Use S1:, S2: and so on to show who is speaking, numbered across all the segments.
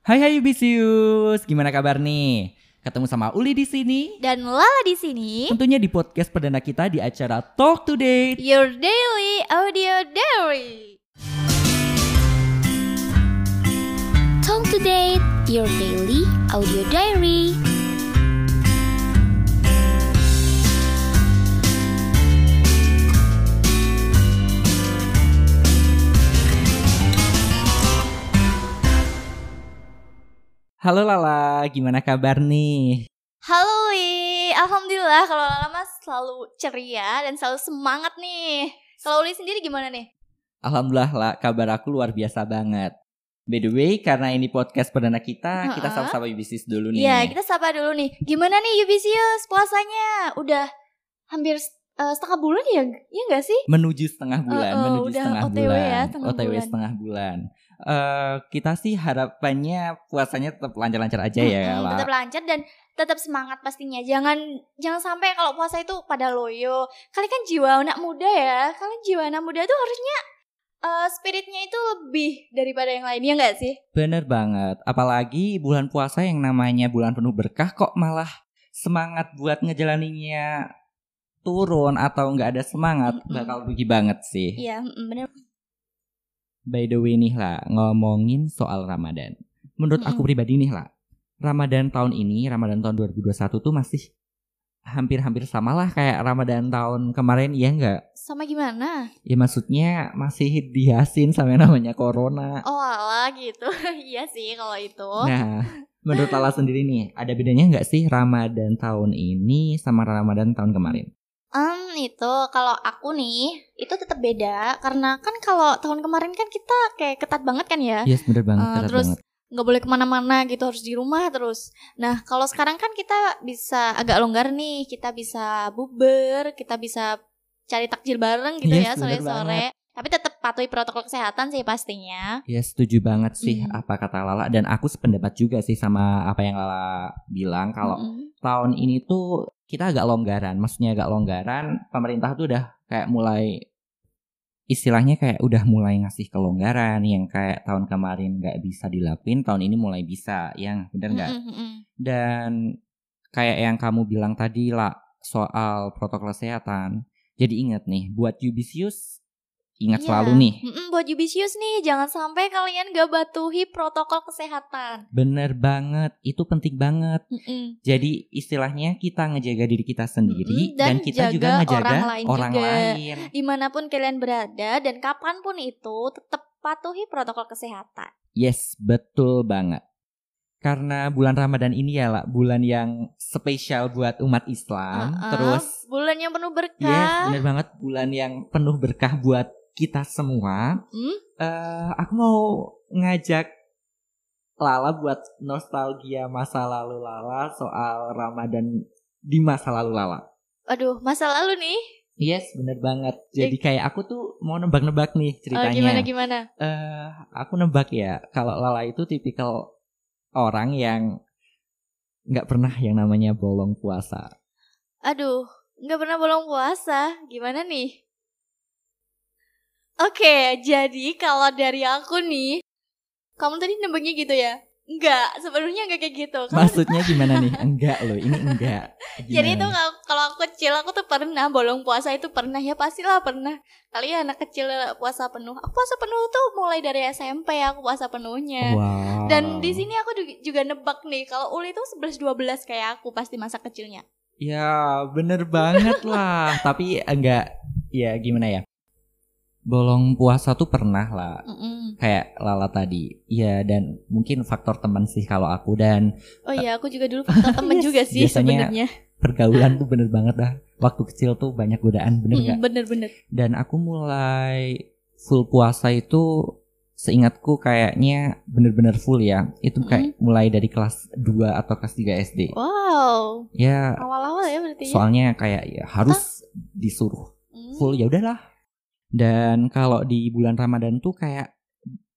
S1: Hai hai Bisius, gimana kabar nih? Ketemu sama Uli di sini.
S2: dan Lala di sini.
S1: Tentunya di podcast perdana kita di acara Talk Today.
S2: Your Daily Audio Diary. Talk to date Your Daily Audio Diary.
S1: Halo Lala, gimana kabar nih?
S2: Halo Li, alhamdulillah kalau Lala mas selalu ceria dan selalu semangat nih. Kalau Li sendiri gimana nih?
S1: Alhamdulillah lah, kabar aku luar biasa banget. By the way, karena ini podcast perdana kita, kita
S2: Ha-ha.
S1: sama-sama Bisius dulu nih.
S2: Iya, kita sapa dulu nih. Gimana nih Yubisius puasanya? Udah hampir eh, setengah bulan ya? Iya gak sih?
S1: menuju setengah bulan,
S2: Uh-uh,
S1: menuju
S2: udah
S1: setengah
S2: OTW ya,
S1: bulan,
S2: setengah
S1: OTW
S2: bulan.
S1: setengah bulan. Eh, kita sih harapannya puasanya tetap lancar-lancar aja ya,
S2: Mm-mm,
S1: Lala.
S2: tetap lancar dan tetap semangat pastinya. Jangan jangan sampai kalau puasa itu pada loyo. Kalian kan jiwa anak muda ya. Kalian jiwa anak muda tuh harusnya eh, spiritnya itu lebih daripada yang lainnya enggak sih?
S1: Bener banget. Apalagi bulan puasa yang namanya bulan penuh berkah kok malah semangat buat ngejalaninya turun atau nggak ada semangat
S2: Mm-mm.
S1: bakal rugi banget sih.
S2: Iya, mm, bener.
S1: By the way nih lah ngomongin soal Ramadan. Menurut aku pribadi nih lah, Ramadan tahun ini, Ramadan tahun 2021 tuh masih hampir-hampir samalah kayak Ramadan tahun kemarin ya nggak?
S2: Sama gimana?
S1: Ya maksudnya masih dihasin sama yang namanya corona.
S2: Oh, ala gitu. iya sih kalau itu.
S1: Nah, menurut Lala sendiri nih, ada bedanya nggak sih Ramadan tahun ini sama Ramadan tahun kemarin?
S2: Em, itu kalau aku nih itu tetap beda karena kan kalau tahun kemarin kan kita kayak ketat banget kan ya.
S1: Yes, bener banget,
S2: Eh,
S1: ketat
S2: terus
S1: banget.
S2: nggak boleh kemana-mana gitu harus di rumah terus. Nah kalau sekarang kan kita bisa agak longgar nih, kita bisa buber, kita bisa cari takjil bareng gitu
S1: Yes, Iya,
S2: ya
S1: bener
S2: sore-sore. Tapi tetap patuhi protokol kesehatan sih pastinya.
S1: Ya setuju banget sih
S2: Mm.
S1: apa kata Lala dan aku sependapat juga sih sama apa yang Lala bilang kalau
S2: Mm-mm.
S1: tahun ini tuh kita agak longgaran, maksudnya agak longgaran. Pemerintah tuh udah kayak mulai istilahnya kayak udah mulai ngasih kelonggaran yang kayak tahun kemarin nggak bisa dilakuin, tahun ini mulai bisa. Yang bener nggak?
S2: Mm-mm, mm-mm.
S1: Dan kayak yang kamu bilang tadi lah soal protokol kesehatan. Jadi ingat nih, buat Yubisius ingat
S2: Iya.
S1: selalu nih.
S2: Mm-mm, buat Yubisius nih, jangan sampai kalian gak patuhi protokol kesehatan.
S1: Bener banget, itu penting banget.
S2: Mm-mm.
S1: Jadi istilahnya kita ngejaga diri kita sendiri
S2: Mm-mm,
S1: dan,
S2: dan
S1: kita juga
S2: jaga
S1: ngejaga orang
S2: orang
S1: lain.
S2: lain juga. Dimanapun kalian berada dan kapanpun itu, tetap patuhi protokol kesehatan.
S1: Yes, betul banget. Karena bulan Ramadan ini ya lah, bulan yang spesial buat umat Islam.
S2: Uh-uh,
S1: Terus,
S2: bulan yang penuh
S1: yes,
S2: berkah.
S1: Iya, bener banget, bulan yang penuh berkah buat kita semua.
S2: Hmm?
S1: Eh, aku mau ngajak Lala buat nostalgia masa lalu Lala soal Ramadan di masa lalu Lala.
S2: Aduh, masa lalu nih.
S1: Yes, bener banget. Jadi kayak aku tuh mau nebak-nebak nih
S2: Eh. Oh,
S1: ceritanya.
S2: gimana gimana?
S1: Eh, aku nebak ya, kalau Lala itu tipikal orang yang nggak pernah yang namanya bolong puasa.
S2: Aduh, nggak pernah bolong puasa. Gimana nih? Oke, jadi kalau dari aku nih, kamu tadi nembaknya gitu ya? Enggak, sebenarnya enggak kayak gitu. Kamu-
S1: Maksudnya gimana nih? Enggak loh, ini enggak. Gimana
S2: jadi itu
S1: nih?
S2: kalau, kalau aku kecil aku tuh pernah bolong puasa itu pernah ya pastilah pernah. Kali ya anak kecil puasa penuh. Aku puasa penuh tuh mulai dari SMP aku puasa penuhnya.
S1: Oh, Wow.
S2: Dan di sini aku du- juga nebak nih kalau Uli tuh 11 12 kayak aku pasti masa kecilnya.
S1: Ya, bener banget lah. Tapi enggak, ya gimana ya? Bolong puasa tuh pernah lah.
S2: Mm-mm.
S1: Kayak Lala tadi. Ya, dan mungkin faktor teman sih kalau aku. Dan
S2: Oh iya, aku juga dulu faktor temen
S1: Yes.
S2: juga sih
S1: Biasanya
S2: sebenarnya.
S1: pergaulan tuh bener banget dah. Waktu kecil tuh banyak godaan, bener nggak?
S2: Mm, Bener-bener.
S1: Dan aku mulai full puasa itu seingatku kayaknya bener-bener full ya. Itu kayak mulai dari kelas 2 atau kelas 3 SD.
S2: Wow,
S1: Ya,
S2: awal-awal ya berarti ya.
S1: soalnya kayak ya harus disuruh
S2: Mm.
S1: full ya udahlah. Dan kalau di bulan Ramadan tuh kayak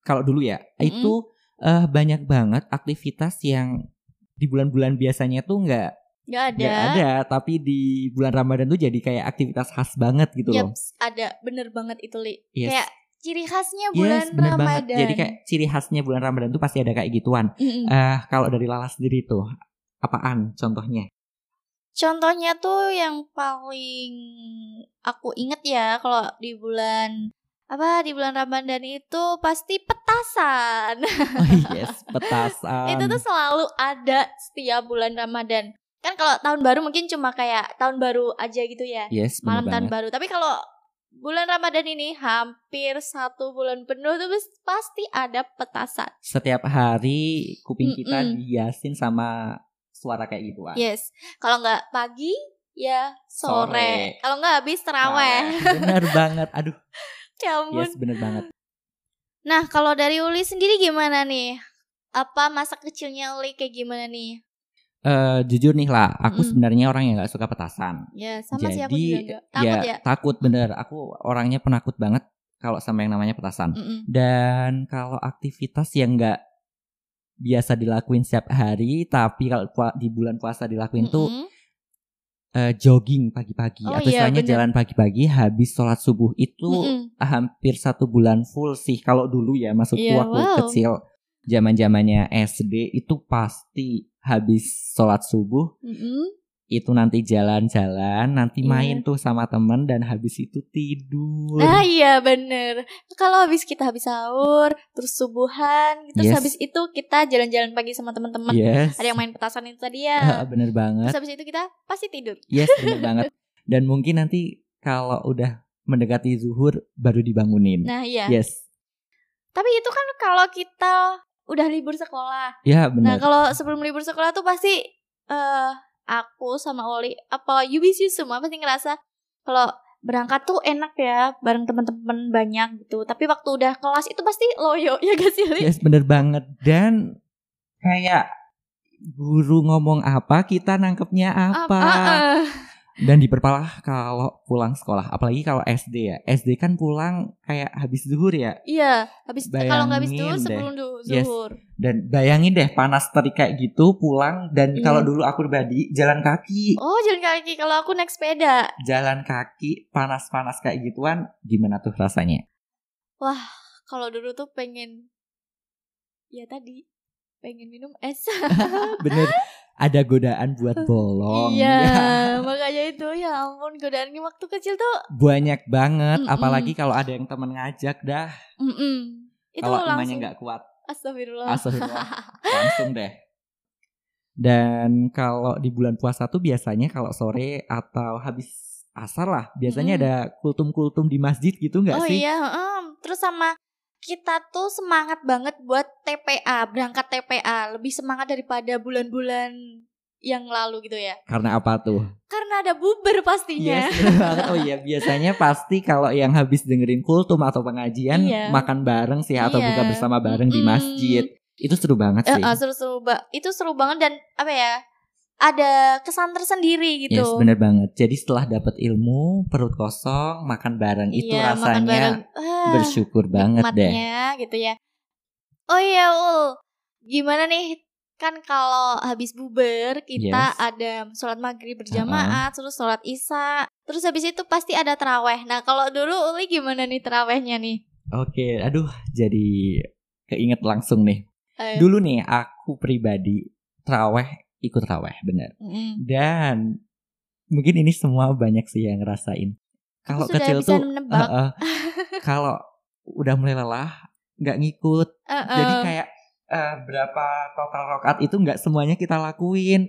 S1: kalau dulu ya,
S2: Mm-mm.
S1: itu eh, banyak banget aktivitas yang di bulan-bulan biasanya tuh nggak
S2: Nggak ada.
S1: Nggak ada, gitu tapi di bulan Ramadan tuh jadi kayak aktivitas khas banget gitu loh.
S2: Yaps, ada. Bener banget itu, Li.
S1: Yes.
S2: Kayak ciri khasnya bulan
S1: Yes, bener
S2: Ramadan. Mm,
S1: banget. Jadi kayak ciri khasnya bulan Ramadan tuh pasti ada kayak gituan.
S2: Mm-mm.
S1: Eh, kalau dari Lala sendiri tuh apaan contohnya?
S2: Contohnya tuh yang paling aku inget ya kalau di bulan apa di bulan Ramadan itu pasti petasan.
S1: Oh yes, um, petasan.
S2: itu tuh selalu ada setiap bulan Ramadan. Kan kalau tahun baru mungkin cuma kayak tahun baru aja gitu ya.
S1: yes, bener
S2: Malam tahun
S1: banget.
S2: baru. Tapi kalau bulan Ramadan ini hampir satu bulan penuh tuh pes- pasti ada petasan.
S1: Setiap hari kuping kita
S2: Mm-mm.
S1: dihiasin sama suara kayak gituan.
S2: Yes. Kalau nggak pagi ya sore.
S1: Sore.
S2: Kalau nggak habis terawih.
S1: Bener banget. Aduh,
S2: Ya ampun.
S1: yes bener banget.
S2: Nah, kalau dari Uli sendiri gimana nih? Apa masa kecilnya Uli kayak gimana nih?
S1: Eh jujur nih lah, aku
S2: Mm-mm.
S1: sebenarnya orang yang nggak suka petasan.
S2: Ya,
S1: Jadi
S2: sama sih aku juga nggak. Takut ya?
S1: takut bener. Aku orangnya penakut banget kalau sama yang namanya petasan.
S2: Mm-mm.
S1: Dan kalau aktivitas yang nggak biasa dilakuin setiap hari, tapi kalau pua- di bulan puasa dilakuin tuh
S2: Mm-mm.
S1: eh, jogging pagi-pagi
S2: Oh
S1: atau
S2: iya,
S1: istilahnya
S2: bener.
S1: jalan pagi-pagi habis sholat subuh itu
S2: Mm-mm.
S1: hampir satu bulan full sih kalau dulu ya maksudku
S2: Iya,
S1: waktu
S2: wow.
S1: kecil zaman zamannya SD itu pasti habis sholat subuh
S2: Mm-mm.
S1: itu nanti jalan-jalan nanti
S2: Iya.
S1: main tuh sama temen dan habis itu tidur
S2: Nah iya bener Kalau habis kita habis sahur Terus subuhan
S1: Yes.
S2: Terus habis itu kita jalan-jalan pagi sama teman-teman
S1: yes
S2: Ada yang main petasan itu tadi
S1: Ah,
S2: ya
S1: bener banget
S2: Terus habis itu kita pasti tidur
S1: yes bener banget dan mungkin nanti kalau udah mendekati zuhur baru dibangunin
S2: Nah iya
S1: yes
S2: Tapi itu kan kalau kita udah libur sekolah
S1: ya
S2: Nah
S1: bener
S2: kalau sebelum libur sekolah tuh pasti eh aku sama Oli apa Yubis semua pasti ngerasa kalau berangkat tuh enak ya bareng teman-teman banyak gitu. Tapi waktu udah kelas itu pasti loyo ya gak sih Li?
S1: Yes bener banget Dan kayak guru ngomong apa kita nangkepnya
S2: Ah,
S1: apa
S2: Apa?
S1: Dan diperparah kalau pulang sekolah Apalagi kalau SD ya SD kan pulang kayak habis zuhur ya
S2: Iya, habis kalau nggak habis
S1: Bayangin
S2: zuhur
S1: deh.
S2: sebelum du-
S1: Yes.
S2: zuhur.
S1: Dan bayangin deh panas terik kayak gitu pulang Dan
S2: Iya.
S1: kalau dulu aku pribadi jalan kaki
S2: Oh, jalan kaki kalau aku naik sepeda.
S1: Jalan kaki panas-panas kayak gituan Gimana tuh rasanya?
S2: Kalau dulu tuh pengen ya tadi pengen minum es.
S1: Bener ada godaan buat bolong
S2: Iya, makanya itu ya ampun godaannya waktu kecil tuh.
S1: Banyak banget
S2: Mm-mm.
S1: Apalagi kalau ada yang temen ngajak dah
S2: Mm-mm. Itu
S1: Kalau
S2: langsung
S1: temannya nggak kuat
S2: Astagfirullah.
S1: Astagfirullah. Ah, Langsung deh. Dan kalau di bulan puasa tuh biasanya kalau sore atau habis asar lah, biasanya
S2: Mm.
S1: ada kultum-kultum di masjid gitu nggak
S2: oh
S1: sih?
S2: iya, heeh. terus sama kita tuh semangat banget buat TPA, berangkat TPA, lebih semangat daripada bulan-bulan yang lalu gitu ya.
S1: Karena apa tuh?
S2: Karena ada buber pastinya.
S1: Yes, bener banget. Oh iya, biasanya pasti kalau yang habis dengerin kultum atau pengajian
S2: Iya.
S1: makan bareng sih atau
S2: Iya.
S1: buka bersama bareng di
S2: Mm-mm.
S1: masjid. Itu seru banget
S2: Eh,
S1: sih.
S2: eh, seru-seru ba- Itu seru banget dan apa ya? Ada kesan tersendiri gitu.
S1: Yes, bener banget. Jadi setelah dapat ilmu, perut kosong, makan bareng itu
S2: Iya, makan bareng.
S1: rasanya
S2: Ah,
S1: bersyukur banget deh.
S2: nikmatnya gitu ya. Oh iya, Ul. Gimana nih? Kan kalau habis buber
S1: Yes.
S2: kita ada sholat maghrib berjamaah, terus sholat isya, terus habis itu pasti ada teraweh. Nah kalau dulu Uli gimana nih terawehnya nih?
S1: Oke, aduh jadi keinget langsung nih.
S2: Eh,
S1: Dulu nih aku pribadi traweh ikut traweh bener.
S2: mm-mm.
S1: Dan mungkin ini semua banyak sih yang ngerasain. Kalau
S2: sudah
S1: kecil
S2: bisa
S1: tuh
S2: menebak.
S1: eh, eh, kalau udah mulai lelah nggak ngikut.
S2: Eh, eh.
S1: Jadi kayak eh, berapa total rokat itu nggak semuanya kita lakuin.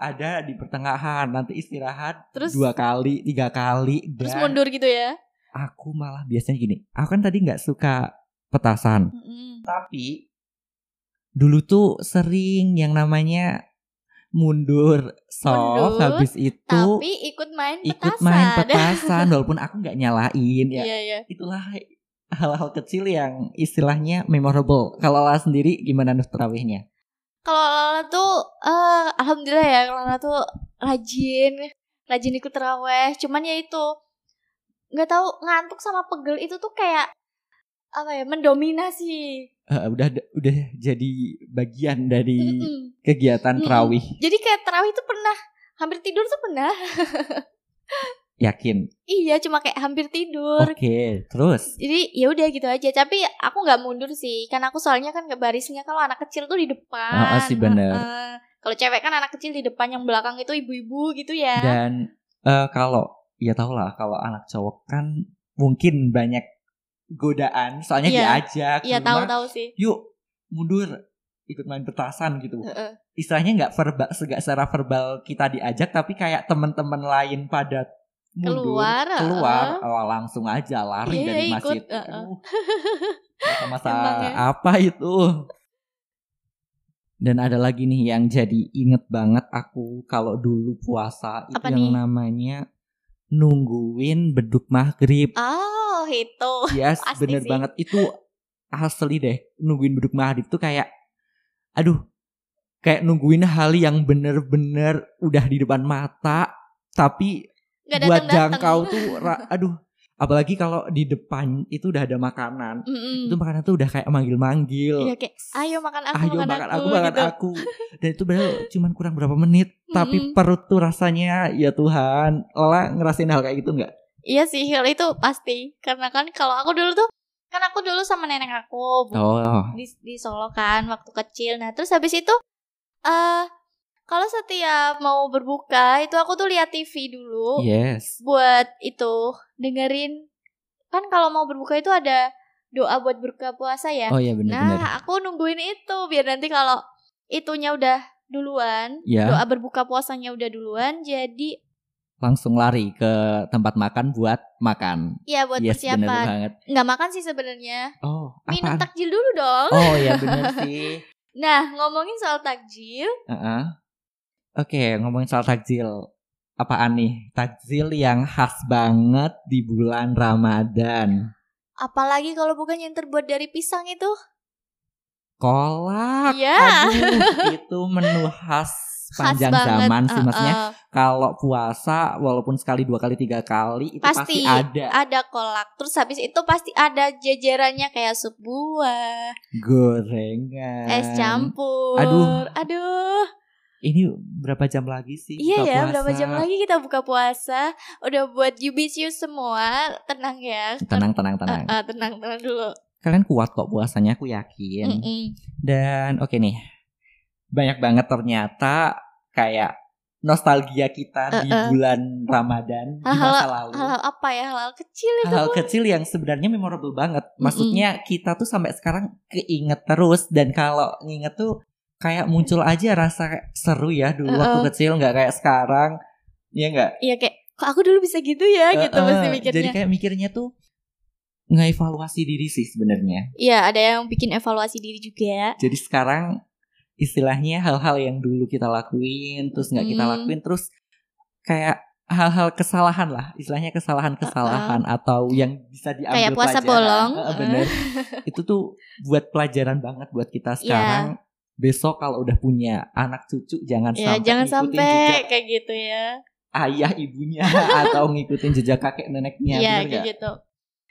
S1: Ada di pertengahan nanti istirahat
S2: Terus-
S1: dua kali tiga kali.
S2: terus
S1: Dan
S2: mundur gitu ya?
S1: Aku malah biasanya gini. Aku kan tadi nggak suka petasan.
S2: Mm-mm.
S1: Tapi dulu tuh sering yang namanya mundur soft
S2: Mundur,
S1: habis itu
S2: Tapi ikut main
S1: ikut
S2: petasan.
S1: main petasan walaupun aku nggak nyalain ya.
S2: Iya iya.
S1: Itulah hal-hal kecil yang istilahnya memorable. Kalau Lala sendiri gimana nuh terawihnya?
S2: Kalau Lala tuh eh alhamdulillah ya Lala tuh rajin, rajin ikut teraweh. Cuman ya itu nggak tahu ngantuk sama pegel itu tuh kayak apa ya mendominasi.
S1: Eh, udah udah jadi bagian dari
S2: Mm-mm.
S1: kegiatan
S2: Mm-mm.
S1: terawih.
S2: Jadi kayak teraweh itu pernah hampir tidur tuh pernah.
S1: Yakin.
S2: Iya, cuma kayak hampir tidur.
S1: Oke, terus.
S2: Jadi ya udah gitu aja. Tapi aku nggak mundur sih, karena aku soalnya kan ke barisnya kalau anak kecil tuh di depan.
S1: Ah, ah, sih, bener.
S2: Heeh. Kalau cewek kan anak kecil di depan, yang belakang itu ibu-ibu gitu ya.
S1: Dan eh, kalau ya tau lah kalau anak cowok kan mungkin banyak godaan, soalnya
S2: Iya.
S1: diajak.
S2: Iya
S1: ke rumah,
S2: tahu-tahu sih.
S1: Yuk mundur ikut main petasan gitu.
S2: Heeh.
S1: Istilahnya nggak verbal, nggak secara verbal kita diajak, tapi kayak teman-teman lain pada mundur,
S2: Keluar,
S1: keluar, oh, langsung aja lari
S2: Iya,
S1: dari
S2: ikut,
S1: masjid.
S2: heeh.
S1: Aduh, Masa-masa
S2: Emang ya.
S1: apa itu? Dan ada lagi nih yang jadi inget banget aku kalau dulu puasa itu
S2: Apa
S1: yang
S2: nih?
S1: namanya nungguin beduk maghrib.
S2: Oh itu.
S1: Yes,
S2: Pasti
S1: bener
S2: sih.
S1: banget itu asli deh nungguin beduk maghrib tuh kayak, aduh, kayak nungguin hal yang bener-bener udah di depan mata, tapi
S2: Gak
S1: buat
S2: datang datang.
S1: jangkau tuh, ra- aduh, apalagi kalau di depan itu udah ada makanan, itu makanan tuh udah kayak manggil-manggil.
S2: Hmm. Iya kayak ayo makan aku,
S1: Ayo
S2: makan,
S1: makan
S2: aku,
S1: aku, makan
S2: gitu.
S1: aku. Dan itu padahal cuman kurang berapa menit, tapi
S2: Mm-mm.
S1: perut tuh rasanya ya Tuhan. Lola ngerasain hal kayak gitu nggak?
S2: Iya sih, kalau itu pasti. Karena kan kalau aku dulu tuh, kan aku dulu sama nenek aku bu-
S1: Oh,
S2: di, di Solo kan waktu kecil. Nah terus habis itu, eh kalau setiap mau berbuka itu aku tuh lihat TV
S1: Iya.
S2: dulu
S1: Oh, yes.
S2: buat itu dengerin. Kan kalau mau berbuka itu ada doa buat berbuka puasa ya.
S1: Oh iya
S2: nah
S1: benar-benar.
S2: aku nungguin itu biar nanti kalau itunya udah duluan,
S1: ya.
S2: doa berbuka puasanya udah duluan, jadi
S1: langsung lari ke tempat makan buat makan.
S2: ya buat
S1: yes, bener
S2: persiapan.
S1: banget.
S2: Nggak makan sih sebenarnya.
S1: Oh,
S2: Minum
S1: apaan?
S2: takjil dulu dong.
S1: Oh ya bener sih.
S2: Nah, ngomongin soal takjil,
S1: Heeh. Oke, ngomongin soal takjil. Apaan nih? Takjil yang khas banget di bulan Ramadan.
S2: apalagi kalau bukan yang terbuat dari pisang itu.
S1: Kolak.
S2: Iya.
S1: Aduh, itu menu khas
S2: khas
S1: panjang
S2: banget.
S1: zaman sih
S2: Heeh.
S1: maksudnya kalau puasa walaupun sekali dua kali tiga kali itu pasti,
S2: Pasti.
S1: ada
S2: Ada kolak, terus habis itu pasti ada jajarannya kayak sup buah,
S1: gorengan
S2: es campur.
S1: Kan. Aduh.
S2: Aduh.
S1: ini berapa jam lagi sih
S2: Iya
S1: buka
S2: ya,
S1: puasa?
S2: berapa jam lagi kita buka puasa? Udah buat you beat you semua, tenang ya.
S1: tenang tenang tenang
S2: Eh, eh, tenang, tenang dulu.
S1: kalian kuat kok puasanya aku yakin
S2: Mm-mm.
S1: dan oke nih banyak banget ternyata kayak nostalgia kita di
S2: Uh-uh.
S1: bulan Ramadan di
S2: Hal-hal-
S1: masa lalu
S2: Halal apa ya? Halal kecil itu.
S1: hal-hal kecil yang sebenarnya memorable banget maksudnya kita tuh sampai sekarang keinget terus dan kalau nginget tuh kayak muncul aja rasa kayak seru ya dulu waktu
S2: Uh-uh.
S1: kecil nggak kayak sekarang ya nggak
S2: Iya kayak kok aku dulu bisa gitu ya gitu
S1: Uh-uh.
S2: pasti
S1: jadi
S2: mikirnya.
S1: kayak mikirnya tuh ngevaluasi diri sih sebenarnya
S2: Iya, ada yang bikin evaluasi diri juga.
S1: Jadi sekarang istilahnya hal-hal yang dulu kita lakuin terus nggak kita
S2: Hmm.
S1: lakuin terus kayak hal-hal kesalahan lah istilahnya kesalahan-kesalahan atau yang bisa diambil
S2: Kayak puasa
S1: pelajaran.
S2: bolong.
S1: Heeh, bener. itu tuh buat pelajaran banget buat
S2: Iya.
S1: kita sekarang besok kalau udah punya anak cucu jangan
S2: Ya,
S1: sampai
S2: jangan
S1: ngikutin
S2: sampai
S1: jejak
S2: kayak gitu ya.
S1: ayah ibunya atau ngikutin jejak kakek neneknya
S2: Iya,
S1: bener
S2: kayak
S1: nggak?
S2: gitu.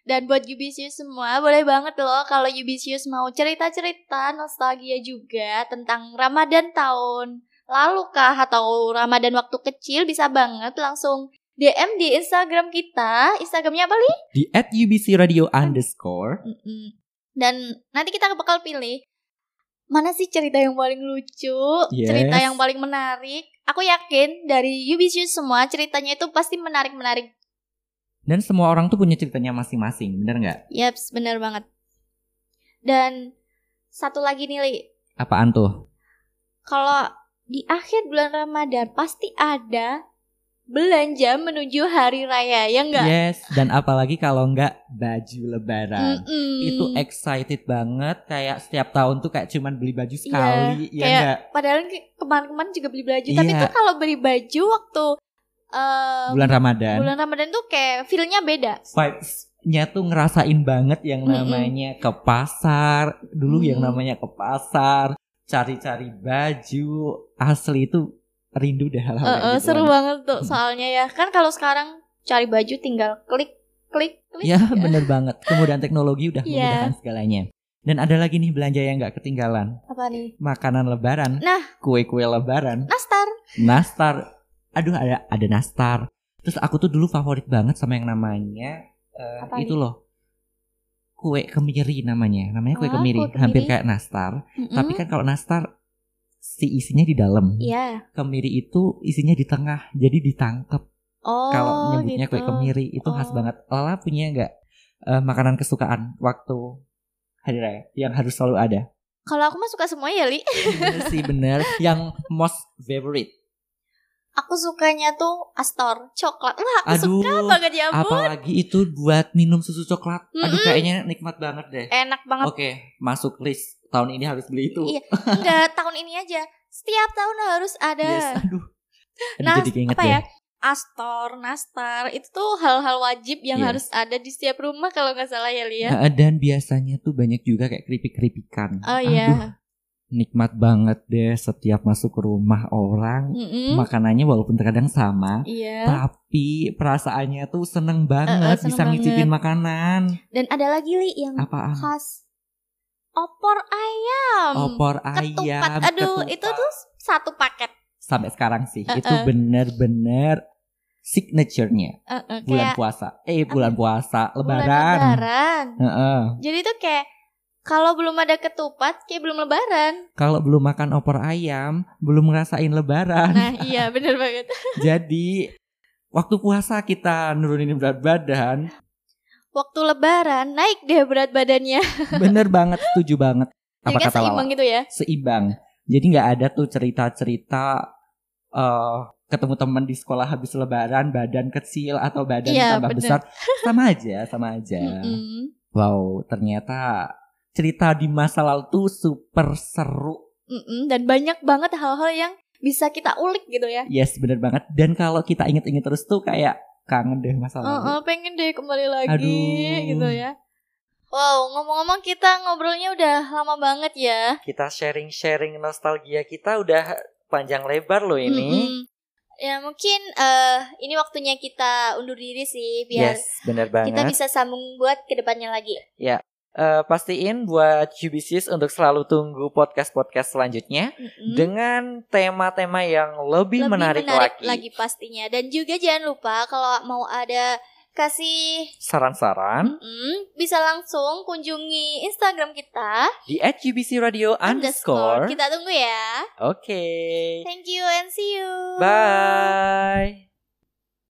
S2: Dan buat Yubisius semua, boleh banget loh kalau Yubisius mau cerita-cerita nostalgia juga tentang Ramadan tahun lalu kah atau Ramadan waktu kecil bisa banget langsung DM di Instagram kita. Instagramnya apa, Li?
S1: di at UBC Radio underscore
S2: Mm-mm. Dan nanti kita bakal pilih mana sih cerita yang paling lucu,
S1: Yes.
S2: cerita yang paling menarik. Aku yakin dari Yubisius semua ceritanya itu pasti menarik-menarik.
S1: dan semua orang tuh punya ceritanya masing-masing bener nggak
S2: Yaps, benar banget. Dan satu lagi nih, Li.
S1: apaan tuh
S2: Kalau di akhir bulan Ramadan pasti ada belanja menuju hari raya, ya enggak?
S1: Yes, dan apalagi kalau enggak baju lebaran. Itu excited banget kayak setiap tahun tuh kayak cuman beli baju sekali ya
S2: Iya, kayak-
S1: enggak.
S2: Padahal ke- kemarin-kemarin juga beli baju, tapi
S1: Iya.
S2: tuh kalau beli baju waktu eh,
S1: Bulan Ramadan.
S2: bulan Ramadan tuh kayak feel-nya beda.
S1: Vibes-nya tuh ngerasain banget yang
S2: Mm-mm.
S1: namanya ke pasar. Dulu yang
S2: Mm.
S1: namanya ke pasar, cari-cari baju. Asli itu rindu deh hal-hal kayak
S2: Eh, eh,
S1: gitu.
S2: seru banget tuh
S1: Hmm.
S2: soalnya ya. Kan kalau sekarang cari baju tinggal klik klik klik.
S1: Ya bener banget. Kemudian teknologi udah
S2: Iya.
S1: memudahkan segalanya. Dan ada lagi nih belanja yang enggak ketinggalan.
S2: Apa nih?
S1: Makanan lebaran.
S2: Nah.
S1: Kue-kue lebaran.
S2: Nastar.
S1: nastar aduh ada ada nastar Terus aku tuh dulu favorit banget sama yang namanya eh,
S2: Apa
S1: itu loh. Kue kemiri namanya. Namanya kue
S2: Ah,
S1: kemiri,
S2: kue kemiri.
S1: hampir kayak nastar, tapi kan kalau nastar si isinya di dalam.
S2: Iya.
S1: Kemiri itu isinya di tengah, jadi ditangkep
S2: Oh,
S1: kalau nyebutnya
S2: gitu.
S1: kue kemiri itu khas
S2: Oh.
S1: banget. Lala punya nggak eh, makanan kesukaan waktu hari raya yang harus selalu ada?
S2: Kalau aku mah suka semua ya, Li.
S1: Bener sih bener yang most favorite.
S2: Aku sukanya tuh Astor, coklat. Wah,
S1: Aduh,
S2: aku suka banget ya, Bu.
S1: apalagi itu buat minum susu coklat. Aduh
S2: Mm-mm.
S1: kayaknya nikmat banget deh.
S2: Enak banget.
S1: Oke, masuk list tahun ini harus beli itu.
S2: Iya, enggak tahun ini aja. Setiap tahun harus ada.
S1: Yes, aduh. Aduh,
S2: Nah,
S1: jadi keinget
S2: apa
S1: deh.
S2: ya? Astor, nastar, itu tuh hal-hal wajib yang
S1: Iya.
S2: harus ada di setiap rumah kalau nggak salah ya, Li ya.
S1: Nah, dan biasanya tuh banyak juga kayak keripik-keripikan.
S2: Oh
S1: Aduh,
S2: iya.
S1: nikmat banget deh setiap masuk ke rumah orang.
S2: Mm-mm.
S1: Makanannya walaupun terkadang sama,
S2: Hmm? Iya.
S1: tapi perasaannya tuh seneng banget
S2: seneng
S1: bisa ngicipin makanan ah,
S2: Dan ada lagi Li yang
S1: apaan
S2: khas opor ayam.
S1: opor
S2: ketupat.
S1: ayam
S2: Aduh,
S1: ketupat.
S2: itu tuh satu paket.
S1: sampai sekarang sih
S2: Eh,
S1: itu
S2: eh.
S1: bener-bener signaturenya
S2: Heeh,
S1: bulan
S2: kayak
S1: puasa eh bulan puasa
S2: bulan
S1: lebaran
S2: lebaran.
S1: Heeh.
S2: Jadi tuh kayak kalau belum ada ketupat kayak belum lebaran.
S1: kalau belum makan opor ayam belum ngerasain lebaran
S2: Nah, iya bener banget.
S1: jadi waktu puasa kita nurunin berat badan
S2: Waktu lebaran naik deh berat badannya.
S1: bener banget setuju banget apa
S2: Jadi kayak
S1: kata Lala?
S2: seimbang gitu ya.
S1: seimbang. Jadi nggak ada tuh cerita-cerita eh ketemu teman di sekolah habis lebaran badan kecil atau badan
S2: Iya,
S1: tambah
S2: bener.
S1: besar. Sama aja, sama aja.
S2: Mm-mm.
S1: Wow, ternyata cerita di masa lalu tuh super seru.
S2: Mm-mm. Dan banyak banget hal-hal yang bisa kita ulik gitu ya.
S1: Yes, bener banget. Dan kalau kita inget-inget terus tuh kayak kangen deh masa
S2: Oh,
S1: lalu.
S2: oh, pengen deh kembali lagi
S1: Aduh.
S2: gitu ya. Wow, ngomong-ngomong kita ngobrolnya udah lama banget ya.
S1: Kita sharing-sharing nostalgia kita udah panjang lebar loh
S2: Mm-mm. Ya mungkin eh ini waktunya kita undur diri sih biar
S1: bener
S2: Iya. kita bisa sambung buat kedepannya lagi.
S1: Eh, pastiin buat Cubisis untuk selalu tunggu podcast-podcast selanjutnya.
S2: Mm-mm.
S1: dengan tema-tema yang lebih,
S2: Lebih
S1: menarik, lagi.
S2: pastinya. Dan juga jangan lupa kalau mau ada kasih
S1: Saran-saran
S2: mm, bisa langsung kunjungi Instagram kita
S1: di at UBC Radio underscore.
S2: Kita tunggu ya.
S1: Oke.
S2: Thank you and see you.
S1: Bye.